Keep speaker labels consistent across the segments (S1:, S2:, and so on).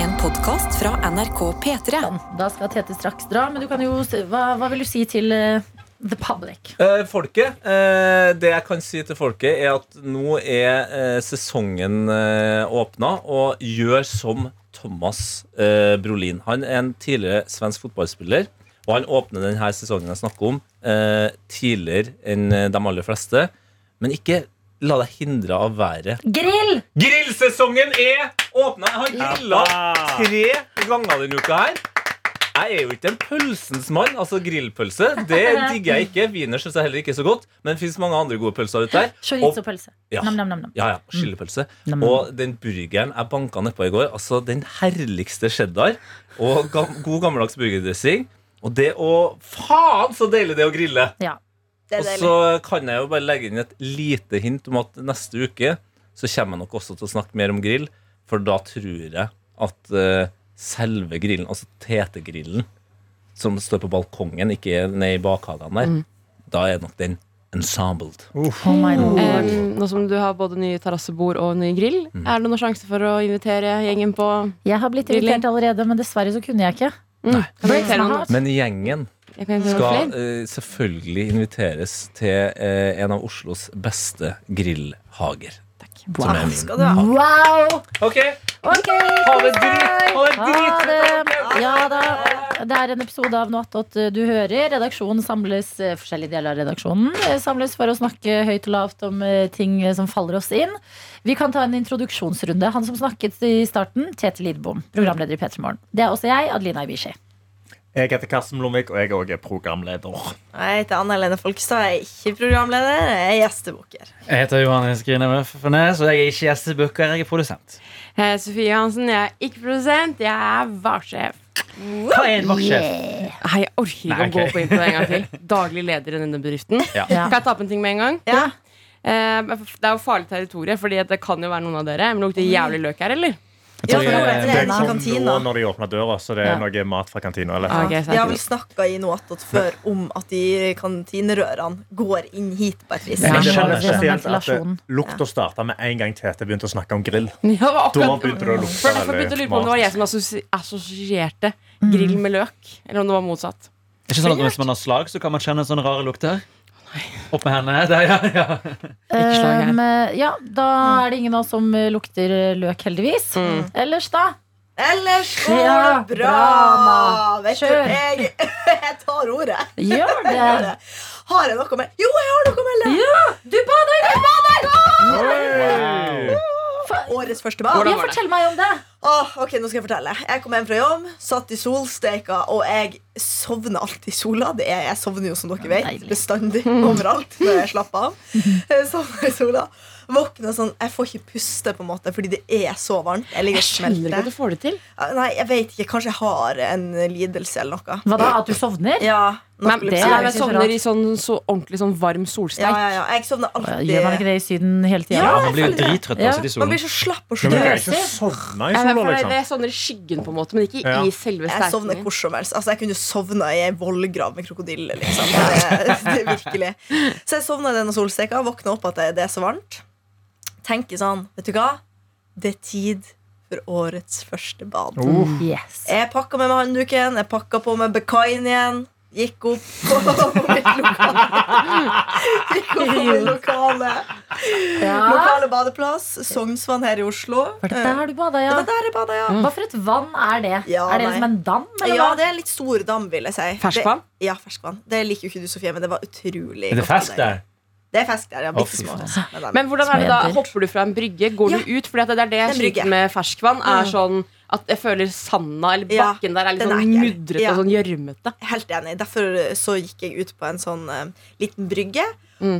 S1: En podkast fra NRK P3.
S2: Da skal Tete straks dra, men du kan jo, s- hva, hva vil du si til eh, the public?
S3: Eh, folket, eh, det jeg kan si til folket, er at nå er eh, sesongen eh, åpna, og gjør som Thomas eh, Brolin. Han er en tidligere svensk fotballspiller, og han åpner denne sesongen jeg snakker om, eh, tidligere enn eh, de aller fleste. Men ikke la deg hindre av været.
S2: Grill!
S3: Grillsesongen er åpna! Jeg har grilla tre ganger denne uka her. Jeg er jo ikke en pølsens mann. Altså grillpølse det digger jeg ikke. Wiener syns jeg heller ikke er så godt. Men det fins mange andre gode pølser ute her. Og,
S2: Chorizo-pølse.
S3: Ja.
S2: Nam, nam, nam, nam.
S3: ja, ja, Chilipølse.
S2: Nam, nam.
S3: Og den burgeren jeg banka nedpå i går, altså den herligste cheddar og gam god gammeldags burgerdressing. Og det å Faen, så deilig det er å grille!
S2: Ja.
S3: Og så kan jeg jo bare legge inn et lite hint om at neste uke så kommer jeg nok også til å snakke mer om grill, for da tror jeg at eh, selve grillen, altså tetegrillen, som står på balkongen, ikke nede i bakhagen der, da er nok den ensembled.
S2: Oh my lord.
S4: Em, Ehm, nå som du har både nye terrassebord og ny grill, er det noen sjanse for å invitere gjengen på
S2: Jeg har blitt
S4: Grill.
S2: invitert allerede, men dessverre så kunne jeg ikke.
S4: mm. Kan jeg
S2: Breaks
S4: invitere
S2: my
S4: noen?
S2: heart.
S3: Men gjengen
S4: Jeg kan invitere noen
S3: skal
S4: flere.
S3: eh, selvfølgelig inviteres til eh, en av Oslos beste grillhager. Som er min.
S2: Wow!
S3: OK,
S2: Ok,
S3: ha det drit! Ha det
S2: Ha
S3: drit!
S2: det! Ja da. Det er en episode av Noe attåt eh, du hører. Redaksjonen samles eh, forskjellige deler av redaksjonen eh, samles for å snakke høyt og lavt om eh, ting eh, som faller oss inn. Vi kan ta en introduksjonsrunde. Han som snakket i starten, Tete Lidbom, programleder i P3 Morgen. Det er også jeg, Adelina Ibishi.
S5: Jeg heter Karsten Blomvik, og jeg er også programleder.
S6: Jeg heter Anna Helene Folkestad. Jeg er ikke programleder, jeg er gjestebukker.
S7: Jeg heter Johanne Skrine Møffenes, og jeg er ikke gjestebooker, jeg er produsent.
S4: Eh, Sofie Hansen, jeg er ikke produsent, jeg er varsjef.
S7: Hva er en vaktsjef?
S4: Nei, jeg orker ikke
S7: Nei,
S4: å gå
S7: ok.
S4: på intro en gang til. Daglig leder i denne bedriften.
S2: Ja.
S4: Kan jeg ta opp en ting med en gang?
S6: Ja.
S4: Eh, det er jo farlig territorium, Fordi at det kan jo være noen av dere. Men det lukter jævlig løk her, eller?
S6: Ja, for nå vet
S5: Det
S6: jeg
S5: er
S6: en i
S5: sånn nå
S6: kantina.
S5: når de åpner døra, så det
S2: Ja.
S5: er noe mat fra kantina. Eller?
S4: Ah, ok, så
S6: Vi
S4: er
S6: har
S4: det
S6: vel snakka i noe attåt før om at de kantinerørene går inn hit på et vis.
S2: Ja.
S5: Men det var
S2: skjønner
S5: litt spesielt at eh,
S2: ventilasjonen.
S5: det- Lukta starta med en gang Tete begynte å snakke om grill.
S4: ikke- Ja, det var
S5: Da
S4: akkurat-
S5: begynte det å lukte
S4: For derfor begynte jeg å lure på om det var jeg
S5: mat.
S4: som assosi- assosierte grill med løk. Eller om det var motsatt.
S7: Er ikke sånn at Hvis man har slag, så kan man kjenne sånne rare lukter? Opp med hendene. Der, ja, ja.
S4: Ikke slag her.
S2: Um, eh, ja, da
S6: Mm.
S2: er det ingen av oss som eh, lukter eh, løk, heldigvis. Ellers, da?
S6: Ellers går
S2: Ja,
S6: det bra!
S2: bra, Ma.
S6: Vet du,
S2: Kjør.
S6: jeg, jeg tar ordet.
S2: Gjør det!
S6: Har jeg noe med Jo, jeg har noe med løk!
S2: Du bader!
S6: Jeg bader! Åh!
S7: Wow.
S6: Årets første bad.
S2: Ja, fortell meg om det!
S6: Åh, ok, nå skal jeg fortelle. Jeg kom hjem fra jobb, satt i solsteika, og jeg sovner alltid i sola. Det er, jeg sovner jo, som dere vet,
S2: Deilig.
S6: bestandig overalt når jeg slapper av. Jeg sovner i sola. Våkner sånn Jeg får ikke puste, på en måte, fordi det er så varmt. Jeg ligger
S4: Jeg
S6: og
S4: skjønner ikke at du
S6: smelter.
S4: får det til.
S6: Ah, Nei, jeg vet ikke. Kanskje jeg har en lidelse eller noe.
S2: Hva da? At du sovner?
S6: Ja,
S4: Nei,
S6: nok
S4: men
S2: det er
S4: det
S6: lyst.
S2: jo
S4: jeg
S2: ikke så
S4: sovner
S2: rart.
S4: i sånn så ordentlig sånn varm
S6: ja,
S4: solsteik.
S6: ja, ja. Jeg sovner alltid.
S2: Gjør man ikke det i Syden hele tida?
S7: ja, man blir jo drittrøtt av
S2: Ja.
S7: å sitte i
S6: Man
S7: solen.
S6: blir så slapp og
S5: Men jeg
S6: sløv.
S5: kan ikke sovne i
S4: Jeg,
S5: sola,
S4: jeg, jeg
S5: liksom.
S4: sovner sånn i skyggen, på en måte, men ikke
S5: Ja.
S4: i selve
S6: Jeg sovner
S4: steiken.
S6: hvor som helst. Altså, jeg kunne sovna i ei vollgrav med krokodille. Liksom. Det, det er virkelig Så jeg sovna i denne solsteka, våkna opp at det, det er så varmt. Tenker sånn, vet du hva? Det er tid for årets første bad.
S2: Oh. Yes.
S6: Jeg pakka med meg handduken, jeg pakka på meg Bekain igjen. Gikk opp på, på mitt lokale Gikk opp på min lokale,
S2: Ja.
S6: lokale badeplass. Sognsvann her i Oslo.
S2: For der har du bada,
S6: Det
S2: ja.
S6: var der jeg bada, ja.
S2: Hva for et vann er det?
S6: Ja,
S2: er det
S6: nei.
S2: som en dam? Eller
S6: Ja,
S2: hva?
S6: det er litt stor dam, vil jeg si.
S4: Ferskvann?
S6: Det, ja, ferskvann. Det liker jo ikke du, Sofie, men det var utrolig
S7: Er det
S6: godt av deg.
S7: fersk der?
S6: Det er fersk der, ja. Bitte
S7: fy
S6: små.
S7: faen.
S6: Men da-
S4: Men hvordan er det da?
S2: Smeder.
S4: Hopper du fra en brygge? Går du ut? Fordi at det er det jeg
S6: En brygge. Mm.
S4: sliter med ferskvann. Er sånn at jeg føler sanda eller
S6: Ja,
S4: bakken der er litt
S6: den er
S4: sånn
S6: ekkel.
S4: mudrete
S6: Ja.
S4: og sånn gjørmete.
S6: Helt enig. Derfor eh, så gikk jeg ut på en sånn eh, liten brygge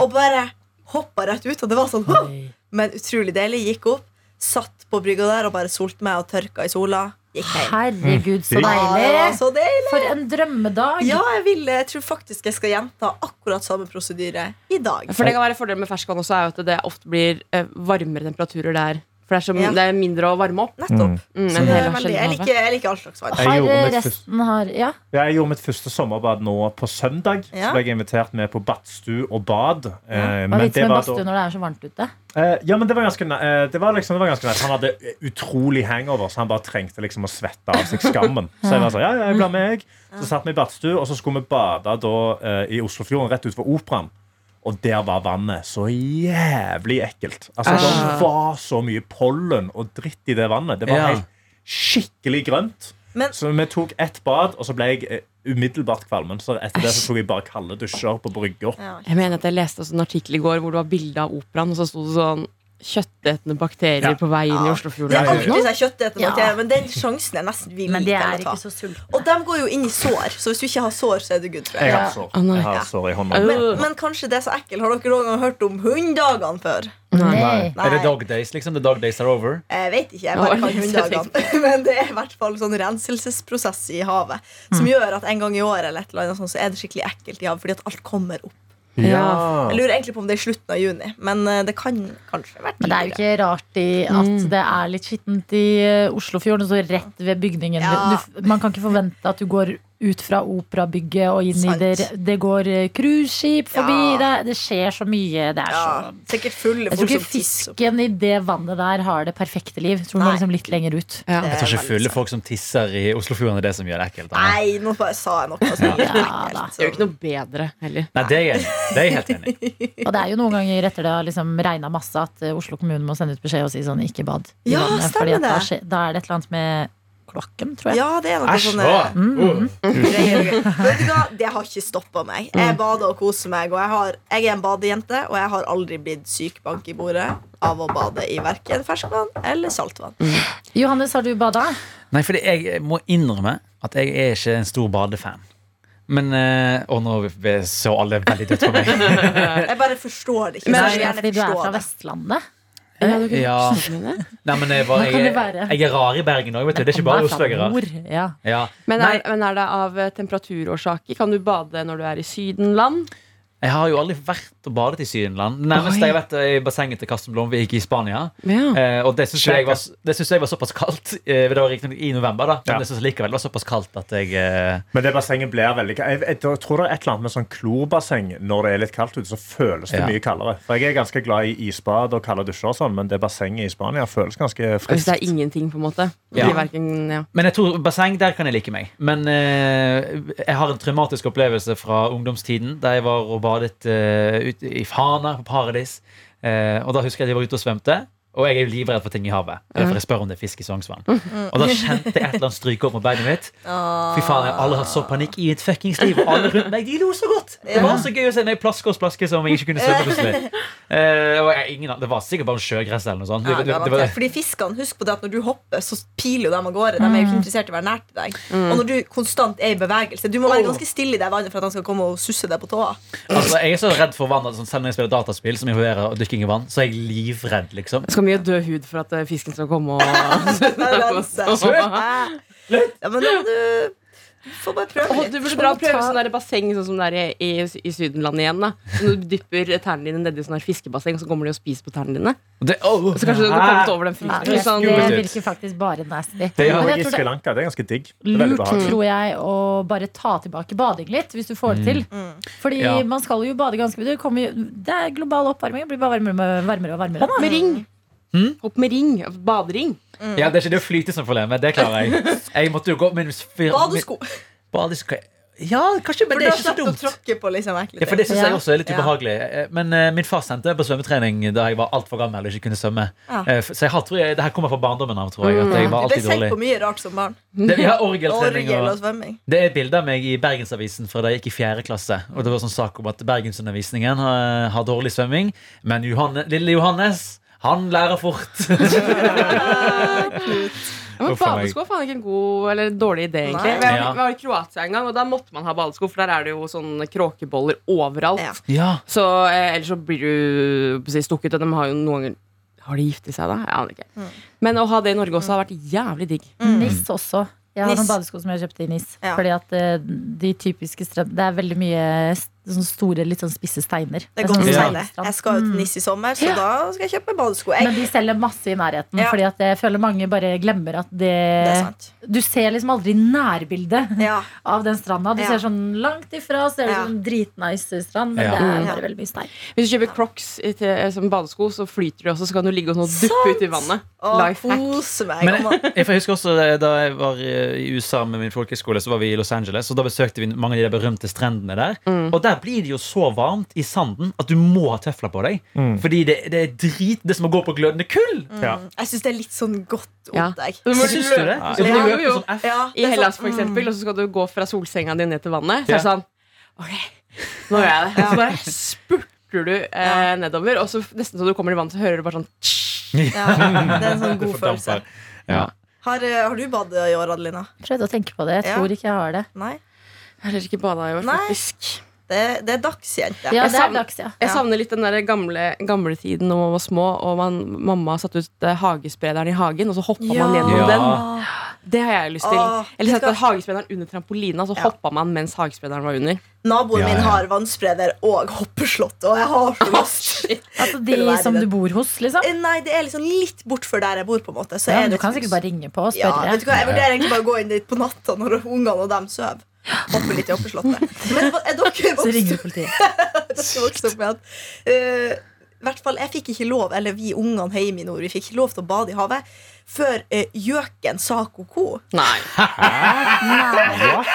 S6: og bare hoppa rett ut. Og det var sånn «Hå!» Men utrolig deilig. Gikk opp, satt på brygga der og bare solte meg og tørka i sola. Gikk hjem.
S2: Herregud, så
S6: Ah, det var
S2: deilig!
S6: så deilig.
S2: For en drømmedag.
S6: Ja, jeg, vil, jeg tror faktisk jeg skal gjenta akkurat samme prosedyre i dag.
S4: For det kan være fordelen med ferskvann også, er jo at det ofte blir eh, varmere temperaturer der For det er, så,
S6: Ja.
S4: det er mindre å varme opp.
S6: Nettopp.
S4: Mm, enn
S6: Så det
S4: hele
S6: er veldig, jeg,
S4: sjeldenhavet.
S6: liker, jeg liker all slags vann.
S5: Jeg
S2: Har eh,
S5: gjorde mitt
S2: resten har Ja.
S5: Ja, jeg gjorde mitt første sommerbad nå på søndag.
S6: Ja.
S5: Så ble jeg invitert med på badstue og bad. Eh,
S2: Hva er
S5: men
S2: vitsen
S5: det
S2: med
S5: var da
S2: badstue når det er så varmt ute?
S5: Eh, ja, men det var ganske ne- eh, Det var liksom, det var ganske nice. Han hadde utrolig hangover, så han bare trengte liksom å svette av seg skammen. Så jeg var sånn, ja, ja, jeg blir med, jeg. Så satt vi i badstue, og så skulle vi bade da eh, i Oslofjorden, rett utenfor Operaen. Og der var vannet så jævlig ekkelt. Altså, Det var så mye pollen og dritt i det vannet. Det var
S7: Ja.
S5: helt skikkelig grønt.
S6: Men-
S5: så vi tok ett bad, og så ble jeg eh, umiddelbart kvalmen. Så etter det så tok jeg bare kalde dusjer på brygga.
S4: Jeg mener at jeg leste også en artikkel i går hvor det var bilde av operaen, og så sto det sånn Kjøttetende bakterier
S5: Ja.
S4: på vei inn i
S6: Ja. Det
S4: Oslofjorden.
S6: er
S4: eller noe.
S6: alltid sånn kjøttetende
S2: Ja.
S6: bakterier, men den sjansen er nesten vi
S2: Men det
S6: liker
S2: er
S6: å ta.
S2: ikke så sultne.
S6: Og de går jo inn i sår, så hvis du ikke har sår, så er du good. Tror
S5: Jeg
S6: jeg.
S5: har
S2: Ja.
S5: sår,
S4: Å, nei.
S5: jeg har sår i hånda.
S6: Men, men kanskje det er så ekkelt. Har dere noen gang hørt om hunddagene før?
S2: Nei.
S7: Er det
S6: Nei.
S7: dog days? liksom? The dog days are over?
S6: Jeg vet ikke, jeg bare
S4: Oi,
S6: kan
S4: så
S6: hunddagene. Men det er i hvert fall sånn renselsesprosess i havet som
S2: Mm.
S6: gjør at en gang i året eller et eller annet sånt, så er det skikkelig ekkelt i havet fordi at alt kommer opp.
S4: Ja.
S6: Jeg lurer egentlig på om det er i slutten av juni, men eh, det kan kanskje være
S2: Men det er jo ikke rart i at
S6: Mm.
S2: det er litt skittent i eh, Oslofjorden, og så rett ved bygningen.
S6: Ja.
S2: Du, man kan ikke forvente at du går ut fra operabygget og inn i
S6: Sant.
S2: det Det går eh, cruiseskip forbi.
S6: Ja.
S2: Det, det skjer så mye. Det er
S6: Ja,
S2: så
S6: sikkert fulle
S2: Jeg tror
S6: folk
S2: ikke
S6: som tisser. opp.
S2: fisken i det vannet der har det perfekte liv. Jeg tror den
S6: Nei.
S2: er liksom litt lenger ut.
S4: Ja.
S6: Det
S7: Jeg
S6: er
S7: tror ikke
S6: veldig
S7: fulle folk som tisser i Oslofjorden, er det som gjør det ekkelt. Anna.
S6: Nei, nå bare sa jeg noe. som er helt
S2: Ja,
S6: ekkelt,
S2: da.
S6: så-
S4: Det er jo ikke noe bedre heller.
S7: Nei, det er jeg, enig i. det er jeg helt enig i.
S2: Og det er jo noen ganger etter det har liksom regna masse at eh, Oslo kommune må sende ut beskjed og si sånn ikke bad i
S6: Ja,
S2: vannet.
S6: stemmer
S2: at da,
S6: det.
S2: skje- da er det et eller annet med kloakken, tror jeg.
S6: Ja, det er noe
S7: Æsj!
S6: sånn
S7: å, uh.
S6: greier. Vet du hva? Det har ikke stoppa meg. Jeg bader og koser meg. Og jeg, har, jeg er en badejente, og jeg har aldri blitt syk bank i bordet av å bade i verken ferskvann eller saltvann.
S2: Johannes, har du bada?
S7: Nei, fordi jeg må innrømme at jeg er ikke en stor badefan. Men eh, Og nå så alle veldig dødt på meg.
S6: Jeg bare forstår det ikke.
S2: Men
S6: så
S2: er
S6: jeg vil
S2: det fordi
S6: gjerne
S2: du er
S6: forstå
S2: fra
S6: det.
S2: Vestlandet?
S4: Ja, du kunne
S7: Ja.
S4: snakket med det.
S7: Nei, men jeg, var,
S2: Hva kan
S7: jeg,
S2: det være?
S7: jeg er rar i Bergen òg, vet du. Det er ikke bare
S2: Anna er fra
S7: Oslo-øyere.
S2: nord, Ja.
S7: Ja.
S4: Men,
S7: Nei,
S4: er, men er det av eh, temperaturårsaker? Kan du bade når du er i Sydenland?
S7: jeg har jo aldri vært og badet i Sydenland. Nærmest
S4: Oi.
S7: jeg har vært eh, i bassenget til Karsten Blomvik i Spania.
S4: Ja.
S7: Eh, og det syns jeg, var- det synes jeg var såpass kaldt. Eh, det var riktignok i november, da. Men
S5: Ja.
S7: jeg synes likevel det var såpass kaldt at jeg eh,
S5: Men det bassenget blir veldig kaldt. Jeg, jeg, tror det er et eller annet med sånn klorbasseng når det er litt kaldt ute, så føles det
S7: Ja.
S5: mye kaldere. For jeg er ganske glad i isbad og kalde dusjer og sånn, men det bassenget i Spania føles ganske
S4: Hvis det
S5: friskt.
S4: er ingenting, på en måte. Det
S7: Eh, Ja.
S4: blir hverken- ja.
S7: Men jeg tror basseng, der kan jeg like meg. Men eh, jeg har en traumatisk opplevelse fra ungdomstiden, da jeg var og badet eh, ute i Fana, på Paradis. Eh, og da husker jeg at jeg var ute og svømte. Og jeg er jo livredd for ting i havet. Det er Derfor jeg spør om det er fisk i Sognsvann. Og da kjente jeg et eller annet stryke opp mot beinet mitt. Fy faen, Jeg har aldri hatt så panikk i mitt fuckings liv. Og alle rundt meg de lo så godt. Det var så gøy å se meg plaske og splaske som om jeg ikke kunne svømme. plutselig. Eh, og jeg, ingen, det var sikkert bare en sjøgress eller noe sånt.
S6: Ja,
S7: Det, det, det,
S6: garantert.
S7: var-
S6: Fordi fiskene, Husk på det at når du hopper, så piler jo dem av gårde. De er jo ikke interessert i å være nært deg. Og når du konstant er i bevegelse Du må være ganske stille i det vannet for at han skal komme og susse deg på tåa.
S7: Altså, jeg er så redd for vann at sånn, Selv når jeg spiller dataspill som involverer dykking i vann, så er jeg livredd, liksom.
S4: Skal mye død hud for at eh, fisken skal komme og
S6: Ja, men da må du du får bare prøve
S4: Å,
S6: litt.
S4: du burde dra og prøve sånn der basseng sånn som det er i, i, i Sydenlandet igjen. da Så Du dypper tærne dine nedi sånn her fiskebasseng, og så kommer de og spiser på tærne dine.
S7: Det, oh,
S4: Så kanskje du hadde kommet over den
S2: Nei,
S4: frykten.
S2: det,
S4: litt sånn,
S2: det
S7: Ah. skummelt ut.
S6: eh,
S2: virker faktisk bare nasty.
S7: Det
S2: Men
S7: har
S5: Og
S2: jeg
S5: I
S2: tror
S5: Sri
S2: det
S5: Lanka det er ganske digg. Det
S2: er
S5: er veldig
S2: lurt,
S5: behagelig.
S2: tror jeg, å bare ta tilbake bading litt, hvis du får det til.
S6: Mm.
S2: Fordi
S7: Ja.
S2: man skal jo bade ganske mye. Det, kommer jo- det er global oppvarming. Det blir bare varmere, varmere og varmere.
S4: Hopp eh, med ring.
S7: Hmm?
S4: Hopp med ring. Badering.
S7: ja, det er ikke det å flyte som problemet. Det klarer jeg. Jeg måtte jo gå min fyr,
S6: Badesko.
S7: Badesko. Ja, kanskje,
S6: For
S7: men
S6: da
S7: det er ikke så
S6: slipper du å
S7: dumt.
S6: tråkke på liksom ekle
S7: Ja, for det synes jeg
S2: Ja.
S7: også er litt
S6: Ja.
S7: ubehagelig. Eh, Men eh, min far sendte meg på svømmetrening da jeg var altfor gammel og ikke kunne svømme.
S6: Ja.
S7: Eh, f- så jeg har, tror jeg, det her kommer fra barndommen av, tror
S4: Mm.
S7: jeg. At
S6: Du
S7: jeg var
S6: ble
S7: alltid
S6: sendt
S7: dårlig.
S6: på mye rart som barn.
S7: Det, ja, orgeltrening
S6: Orgel
S7: og
S6: og svømming.
S7: Det er bilder av meg i Bergensavisen fra da jeg gikk i fjerde klasse. Og det var sånn sak om at Bergensundervisningen har, har dårlig svømming, men Johanne, lille Johannes han lærer fort.
S4: Ja, men
S7: Huff a meg.
S4: badesko er faen ikke en god eller en dårlig idé, egentlig.
S6: Nei.
S4: Vi var-
S7: Ja.
S4: vi var i Kroatia en gang, og da måtte man ha badesko, for der er det jo sånne kråkeboller overalt.
S6: Ja.
S7: ja.
S4: Så eh, ellers så blir du på å si, stukket, og de har jo noen ganger Har de giftet seg, da? Jeg aner ikke.
S7: Mm.
S4: Men å ha det i Norge også har vært jævlig digg.
S2: Nis også. Jeg har
S6: Mm. Nis.
S2: noen badesko som jeg kjøpte i Nis.
S6: Ja.
S2: Fordi at eh, de typiske strøm... Det er veldig mye s- sånne store, litt sånn spisse steiner. er
S6: Det går
S2: sånn
S6: for
S3: Ja.
S6: seg, det.
S2: sandstrand.
S6: Jeg skal ut NIS i sommer, så
S2: Ja.
S6: da skal jeg kjøpe badesko.
S2: Men
S6: Jeg,
S2: de selger masse i nærheten,
S6: Ja.
S2: fordi at jeg føler mange bare glemmer at det,
S6: det er sant.
S2: Du ser liksom aldri nærbildet
S6: Ja.
S2: av den stranda. Du
S6: Ja.
S2: ser sånn langt ifra, ser det
S6: Ja.
S2: som en dritnice strand, men
S7: Ja.
S2: det er
S6: Ja.
S2: bare veldig mye stein.
S4: Hvis du kjøper Crocs i te- som badesko, så flyter de også, så kan du ligge og sånn og duppe ut i vannet.
S6: Å,
S4: Lifehack.
S6: kose meg.
S7: Men
S6: gammel.
S7: jeg, jeg husker også eh, Da jeg var eh, i USA med min folkehøyskole, så var vi i Los Angeles. Og da besøkte vi mange av de der berømte strendene der. Og der blir det jo så varmt i sanden at du må ha tøfler på deg. Fordi det, det er drit Det er som å gå på glødende kull!
S5: Ja.
S6: Jeg syns det er litt sånn godt
S4: Ja.
S6: opplegg.
S4: Du må
S7: Syns du det?
S4: løpe.
S7: Så du
S4: Ja,
S7: løper
S4: jo, jo.
S7: sånn F.
S6: Ja,
S4: I
S6: det er
S4: Hellas,
S6: sånn,
S4: for eksempel, og så skal du gå fra solsenga di ned til vannet. Så
S7: Ja.
S4: er det sånn OK, nå gjør jeg det. Så bare spurter du eh, nedover, og så f- nesten så du kommer i vannet, så hører du bare sånn
S6: mm, ja, det er en sånn god følelse.
S7: Fordamper. Ja.
S6: Har, eh, har du badet i år, Adelina?
S2: Prøvde å tenke på det. Jeg
S6: Ja.
S2: tror ikke jeg har det.
S6: Nei?
S4: Jeg har heller ikke bada i år,
S6: Nei.
S4: faktisk.
S6: Det, det er dags, jente.
S2: Ja,
S4: Jeg
S2: det er
S4: savn-
S2: laks, ja.
S4: Jeg
S6: Ja.
S4: savner litt den der gamle, gamle tiden når man var små og man, mamma satte ut eh, hagesprederen i hagen, og så hoppa man gjennom
S7: Ja.
S4: den. Det har jeg lyst til.
S6: Åh,
S4: Eller
S6: vet du
S4: satte
S6: hva?
S4: hagesprederen under trampolina, og så
S6: Ja.
S4: hoppa man mens hagesprederen var under.
S6: Naboen
S7: Ja, ja,
S6: min
S7: ja.
S6: har vannspreder og hoppeslott, og jeg har så lyst.
S2: Altså de
S6: Eller er det
S2: som
S6: det?
S2: du bor hos, liksom.
S6: Eh, Nei, det er liksom litt bortfor der jeg bor, på en måte. Så
S2: Ja,
S6: er
S2: men du
S6: det
S2: kan
S6: liksom-
S2: sikkert bare ringe på og
S6: ja,
S2: spørre.
S6: vet du hva, Jeg vurderer egentlig bare å gå inn dit på natta når ungene og dem sover. Hoppe litt i hoppeslottet. Men hva- er dere
S2: Så
S6: vokst
S2: ringer du politiet.
S6: dere vokst opp med at eh, i hvert fall, Jeg fikk ikke lov, eller vi ungene hjemme i nord, vi fikk ikke lov til å bade i havet før eh, gjøken sa ko-ko.
S4: Nei,
S6: Er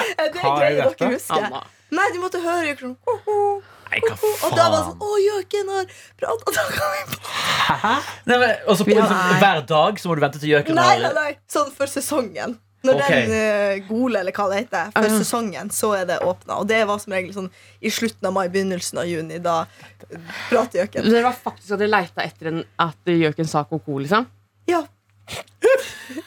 S6: Eh, det
S5: Hva er
S6: greier
S5: dette?
S6: dere husker?
S4: Anna.
S6: Nei, du måtte høre gjøken sånn ko-ko.
S7: Nei, hva
S6: ko-ko. Og da var det
S7: faen?
S6: sånn Å, gjøken har prata! Da kan vi
S7: Nei, men, og så på- liksom,
S4: Nei.
S7: hver dag så må du vente til gjøken
S6: Nei, nei,
S7: har
S6: nei, sånn for sesongen. Når
S7: Ok.
S6: den eh, gole, eller hva det heter, for
S4: Ah, ja.
S6: sesongen, så er det åpna. Og det var som regel sånn i slutten av mai, begynnelsen av juni. Da eh, prater gjøken.
S4: Dere var faktisk at dere leita etter en, at gjøken sa ko-ko, liksom?
S6: Ja,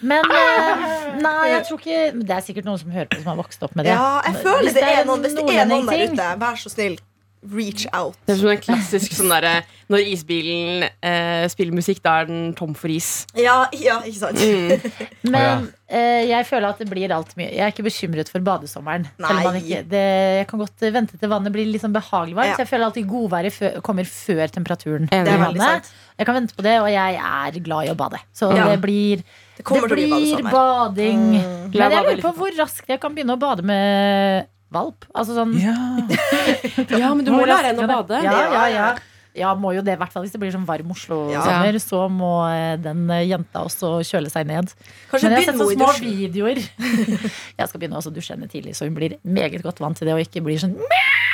S2: Men
S6: Ah.
S2: eh, nei, jeg tror ikke men Det er sikkert noen som hører på som har vokst opp med det.
S6: ja, jeg føler
S2: Hvis
S6: det er noen Hvis det er noen der
S2: nordlending-ting,
S6: ute, vær så snill, reach out.
S4: Det er som en klassisk sånn derre når isbilen eh, spiller musikk, da er den tom for is.
S6: Ja, ja ikke sant?
S2: Men eh, jeg føler at det blir alt mye. Jeg er ikke bekymret for badesommeren. Selv om man
S6: Nei.
S2: ikke, det, jeg kan godt vente til vannet blir litt sånn behagelig varmt.
S6: Ja.
S2: Så jeg føler alltid godværet fø- kommer før temperaturen.
S4: Enig.
S2: i
S6: Det er veldig
S2: vannet.
S6: sant.
S2: Jeg kan vente på det, og jeg er glad i å bade. Så
S6: Ja.
S2: det blir,
S6: Det
S2: det
S6: kommer til å bli Mm.
S2: blir
S6: badesommer.
S2: bading.
S4: La
S2: Men jeg
S4: bade
S2: lurer
S4: litt
S2: på hvor raskt jeg kan begynne å bade med valp. Altså sånn
S7: Ja.
S4: Ja, men du må lære henne å bade.
S2: Ja, ja,
S6: Ja,
S2: ja.
S6: ja.
S2: Ja, må jo det, i hvert fall hvis det blir sånn varm
S6: Ja.
S2: Oslo-sommer. Så må eh, den eh, jenta også kjøle seg ned.
S6: Kanskje
S2: Men jeg har
S6: begynn
S2: sett så
S6: med
S2: små
S6: henne i dusjen.
S2: videoer. Jeg skal begynne også å dusje henne tidlig, så hun blir meget godt vant til det. Og ikke blir sånn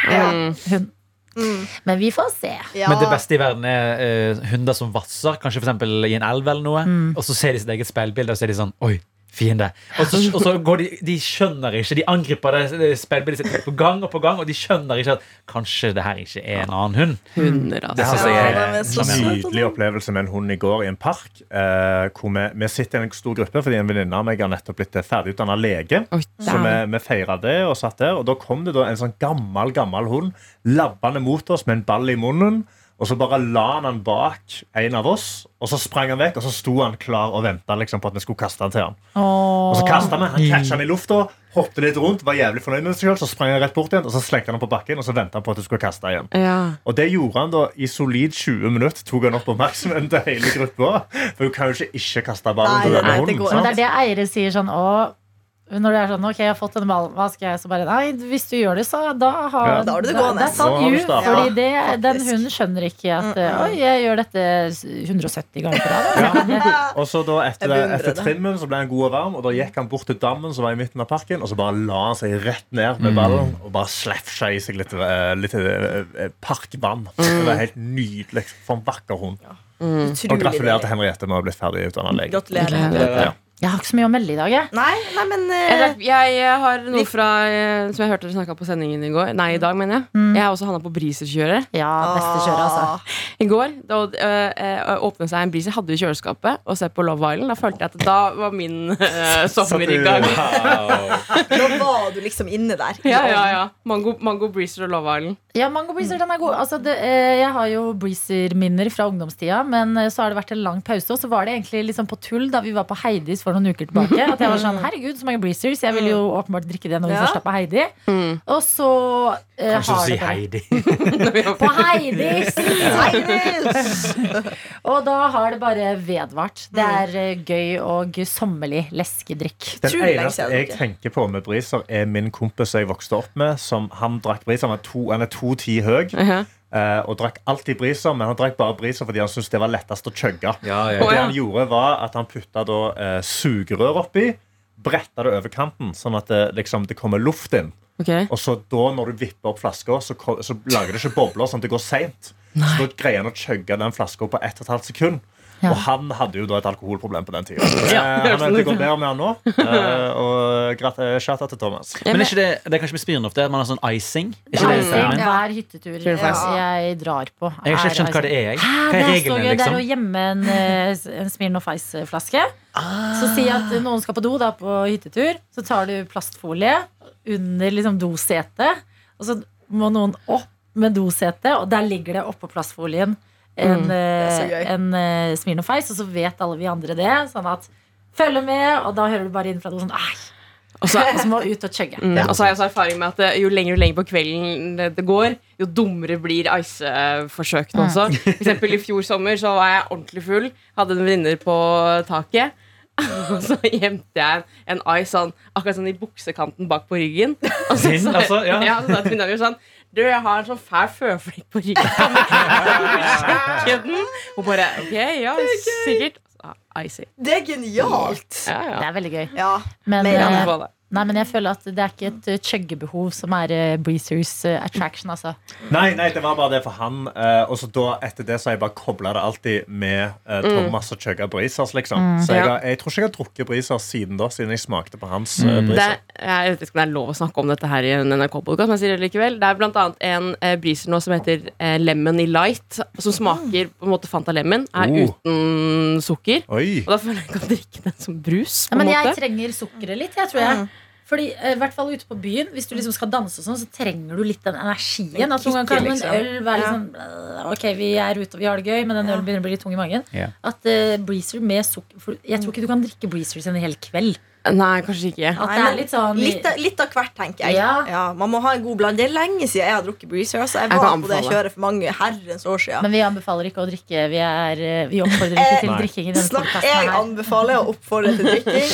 S4: Mm.
S2: hun.
S6: Mm.
S2: Men vi får se.
S6: Ja.
S7: Men det beste i verden er eh, hunder som vasser, kanskje for eksempel i en elv, eller noe
S2: Mm.
S7: og så ser de sitt eget speilbilde og så er de sånn Oi, fiende. Og så, og så går de De skjønner ikke. De angriper det, det speilbildet sitt på gang og på gang, og de skjønner ikke at kanskje det her ikke er en annen hund.
S4: Hunder,
S3: Det
S4: altså.
S3: synes
S6: Ja,
S3: jeg
S6: det var
S3: er
S6: så
S3: fenomenalt.
S5: Nydelig opplevelse med en hund i går i en park. Eh, hvor vi, vi sitter i en stor gruppe fordi en venninne av meg har nettopp blitt ferdigutdanna lege.
S4: Oi,
S5: Så vi, vi feira det og satt der. Og da kom det da en sånn gammel gammel hund labbende mot oss med en ball i munnen. Og så bare la han han bak en av oss, og så sprang han vekk. Og så sto han klar og venta liksom, på at vi skulle kaste han til han. Og så kastet han, han catchet han i lufta, hoppet litt rundt, var jævlig fornøyd med seg selv, så sprang han rett bort igjen, og så slengte han han på bakken, og så ventet han på at du skulle kaste igjen.
S4: Ja.
S5: Og det gjorde han da i solid 20 minutter. Tok han opp oppmerksomheten til hele gruppa. For du kan jo ikke ikke kaste ballen
S6: Nei,
S5: til denne
S6: nei, det
S5: hunden.
S6: går
S2: Men det er
S5: sant?
S2: det eiere sier sånn å, når du er sånn, ok, jeg har fått denne ballen, hva skal jeg så bare, nei, hvis du gjør det, så da har
S5: Ja.
S6: Da har du det
S2: da-
S6: gående.
S2: that's on
S5: Da har du
S2: you,
S5: startet.
S2: fordi det,
S6: Ja,
S2: den
S6: faktisk. Mm,
S2: hunden skjønner ikke at, eh, oi, jeg gjør dette 170 ganger på rad. da.
S5: Og så da etter,
S6: Jeg beundrer
S5: etter
S6: det.
S5: trimmen så ble han god og varm, og da gikk han bort til dammen som var i midten av parken, og så bare la han seg rett ned med ballen og bare slefsa i seg litt, eh, litt eh, eh, parkvann.
S6: Mm.
S5: Det var helt nydelig. For en vakker hund. Og
S6: Utrolig
S5: gratulerer til
S6: deilig.
S5: Henriette med å ha blitt ferdig utdanna lege.
S6: Gratulerer.
S2: Jeg har ikke så mye å melde i dag, jeg.
S6: Nei, nei, men
S4: Jeg,
S6: eh,
S4: drakk- jeg eh, har noe fra eh, som jeg hørte dere snakka på sendingen i går. Nei, i dag, mener jeg. Jeg har også havna på briserkjøret.
S2: Ja, beste kjøret, altså.
S6: ah,
S4: I går da uh, åpna seg en briser, hadde i kjøleskapet, og se på Love Island. Da følte jeg at da var min eh, sommer i gang.
S5: Wow.
S6: Da var du liksom inne der. i
S4: Ja, ja,
S6: ovnen.
S4: ja. Mango, mango breezer og Love Island.
S2: Ja, mango breezer, den er god. Altså, det, eh, jeg har jo breezer-minner fra ungdomstida, men eh, så har det vært en lang pause. Og så var det egentlig liksom på sånn tull da vi var på Heidis for for noen uker tilbake. At jeg var sånn, herregud, så mange breezers. Jeg ville jo åpenbart drikke det når vi
S6: Ja.
S2: først er på Heidi. Og så eh,
S7: Kanskje
S2: har
S7: si
S2: det bare-
S7: Heidi.
S2: På Heidis!
S6: Heidis!
S2: Og da har det bare vedvart. Det er eh, gøy og sommerlig leskedrikk.
S5: Den
S6: Utrolig lenge
S5: eneste
S6: siden
S5: jeg
S6: jeg
S5: tenker på med briser, er min kompis jeg vokste opp med. Som han drakk briser. Han er to- Han er 2,10 høy. eh, Og drakk alltid briser, men han drakk bare briser fordi han syntes det var lettest å chugge.
S7: Ja, ja.
S5: Og
S4: Å,
S5: det
S4: ja.
S5: han gjorde, var at han putta da eh, sugerør oppi, bretta det over kanten, sånn at det, liksom, det kommer luft inn.
S4: Ok.
S5: Og så da, når du vipper opp flaska, så, ko- så lager det ikke bobler, sånn at det går seint. Så da greier han å chugge den flaska på 1 12 sekund.
S2: Ja.
S5: Og han hadde jo da et alkoholproblem på den tida.
S4: Ja,
S5: Eh, han-
S4: absolutt.
S5: det går bedre med han nå. Eh, og grat- eh, shout out til Thomas.
S7: Men er ikke det, det er kanskje besmirende ofte at man har sånn icing? Er ikke det
S2: Icing,
S7: termen?
S2: Hver hyttetur jeg drar på,
S7: Jeg har sånn ikke helt skjønt hva det er. jeg. Hva
S2: det er
S7: er
S2: Ah, så
S7: reglene,
S2: gøy. Det er å
S7: liksom?
S2: gjemme en, eh, s- en Smirnoff Ice-flaske. Så si at noen skal på do da, på hyttetur. Så tar du plastfolie under liksom, dosetet. Og så må noen opp med dosetet, og der ligger det oppå plastfolien en,
S6: så
S2: mm.
S6: gøy.
S2: en eh, Smirnoff Ice. Og så vet alle vi andre det. Sånn at Følger med, og da hører du bare inn fra noen sånn Æh!
S4: Og så,
S2: Og så må du ut og chugge.
S4: mm, og så har jeg så erfaring med at eh, jo lenger og lenger på kvelden det det går, jo dummere blir iceforsøkene også. For eksempel i fjor sommer så var jeg ordentlig full, hadde en venninner på taket. Og så gjemte jeg en ice sånn, akkurat sånn i buksekanten bak på ryggen. Og så
S7: Din,
S4: sa-
S7: altså, ja.
S4: Ja, så sa venninna mi sånn Du, jeg har en sånn fæl føflekk på ryggen. Kan du sjekke den? Hun bare Ok, ja, sikkert. Ah, Icy.
S6: Det er genialt!
S4: Ja,
S2: Det
S4: ja.
S2: er veldig gøy.
S6: Ja.
S2: Men,
S6: Mer
S2: eh,
S6: enn
S4: Anbefaler.
S2: nei, men jeg føler at det er ikke et eh, chuggebehov som er eh, Breezers eh, attraction, altså.
S5: Nei, nei, det var bare det for han. eh, og så da, etter det så har jeg bare kobla det alltid med eh, Thomas og chugga Brisers, liksom. Så jeg,
S4: Mm. Ja.
S5: har, jeg tror ikke jeg har drukket Brisers siden da, siden jeg smakte på hans eh,
S4: Mm. Det,
S5: Briser.
S4: jeg vet ikke om det er lov å snakke om dette her i en NRK-podkast, men jeg sier det likevel. Det er blant annet en eh, briser nå som heter eh, Lemon i Light, som smaker på en måte Fanta Lemon, er
S5: Oh.
S4: uten sukker.
S5: Oi!
S4: Og da føler jeg ikke å drikke den som brus.
S2: Ja,
S4: På
S2: men
S4: en
S2: jeg
S4: måte.
S2: trenger sukkeret litt, jeg tror jeg. Fordi, eh, i hvert fall ute på byen, Hvis du liksom skal danse og sånn, så trenger du litt den energien. At Noen ganger kan
S6: Kicket,
S2: en
S6: liksom.
S2: øl være liksom øh, Ok, vi er ute og vi har det gøy, men den ølen begynner å bli litt tung i magen.
S7: Ja.
S2: At eh, breezer med sukker for Jeg tror ikke du kan drikke breezers en hel kveld.
S4: Nei, kanskje ikke.
S2: At
S6: Nei,
S2: det
S6: men
S2: er litt sånn
S6: Litt, av- litt av hvert, tenker jeg.
S2: Ja.
S6: man må ha en god bland. Det er lenge siden jeg har drukket Breezer. Så jeg
S4: Jeg
S6: var
S4: kan
S6: på det
S4: anbefale.
S6: kjøret for mange herrens år siden.
S2: Men vi anbefaler ikke å drikke. Vi, er, eh, vi oppfordrer ikke til
S5: Nei.
S2: drikking i denne
S6: Snakk,
S2: podcasten
S6: jeg
S2: her.
S6: anbefaler å oppfordre til drikking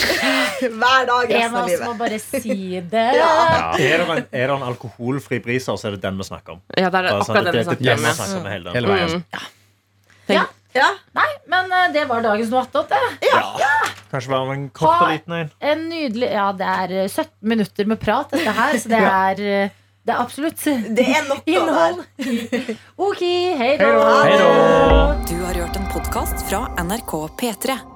S6: hver dag
S2: En av
S6: resten av
S2: oss må
S6: livet.
S2: bare si det.
S6: Ja.
S5: Ja. Er, det en, er det en alkoholfri Briser, så er det den vi snakker om.
S4: Ja, det er
S5: Bare sånn,
S4: akkurat
S5: det,
S4: den
S5: det,
S4: jeg snakker om.
S5: det, vi
S4: ja.
S5: snakker om hele den.
S7: Hele veien.
S6: Ja.
S2: Nei, men eh, det var dagens noe attåt, det.
S5: Mm. Kanskje bare en kort og liten en.
S2: En nydelig Ja, det er eh, 17 minutter med prat, dette her, så det er, eh, det er absolutt
S6: Det er noe der.
S2: innhold. OK, hei
S5: Hei
S2: da.
S5: da.
S1: Du har hørt en podkast fra NRK P3.